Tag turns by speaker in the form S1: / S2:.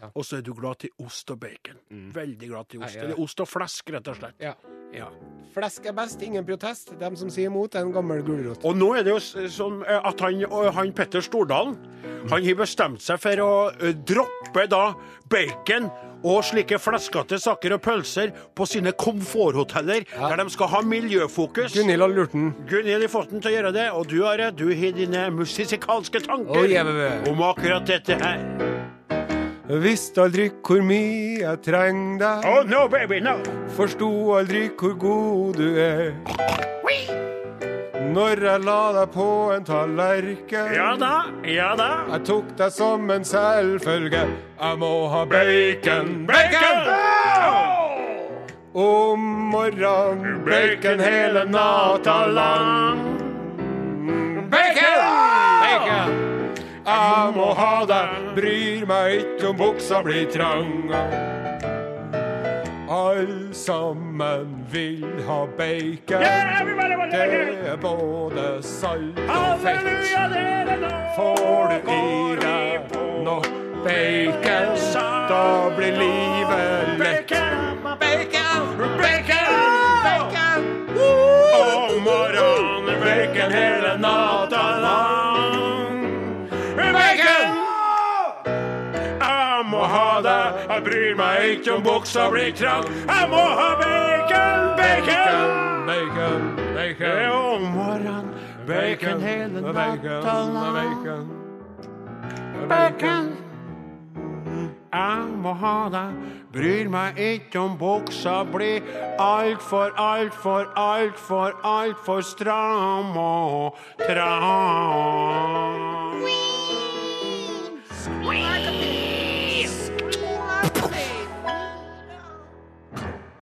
S1: Ja.
S2: Og så er du glad til ost og bacon. Veldig glad til ost.
S1: Nei, ja.
S2: Eller ost og flesk, rett og slett.
S1: Ja.
S2: Ja.
S1: Flesk er best, ingen protest. De som sier imot, er en gammel gulrot.
S2: Og nå er det jo s- sånn eh, at han, og han Petter Stordalen han har bestemt seg for å eh, droppe da bacon og slike fleskete saker og pølser på sine komforthoteller, der de skal ha miljøfokus.
S1: Gunhild har lurt den.
S2: Gunhild har fått den til å gjøre det, og du, Are, du har dine musikalske tanker
S1: Å, jævlig.
S2: om akkurat dette her.
S1: Visste aldri hvor mye jeg trenger deg,
S2: Oh no, baby, no!
S1: forsto aldri hvor god du er. Når jeg la deg på en tallerken,
S2: Ja da, ja da.
S1: jeg tok deg som en selvfølge. Jeg må ha bacon, bacon! Om morgenen, bacon hele natta lang. Bacon! Jeg må ha deg, bryr meg ikke om buksa blir trang. Alle sammen vil ha bacon. Det er både salt og fett. Får du i deg nok bacon, da blir livet lett. Om morgenen, bacon hele natta lang. Bacon!
S2: Jeg må ha deg, jeg bryr meg ikke om buksa blir trang. Jeg må ha bacon, bacon!
S1: Bacon,
S2: Det er
S1: bacon,
S2: om morgenen, bacon hele natta lang.
S1: bacon.
S2: Bacon. Jeg må ha deg, bryr meg ikke om buksa blir altfor, altfor, altfor, altfor stram og trang.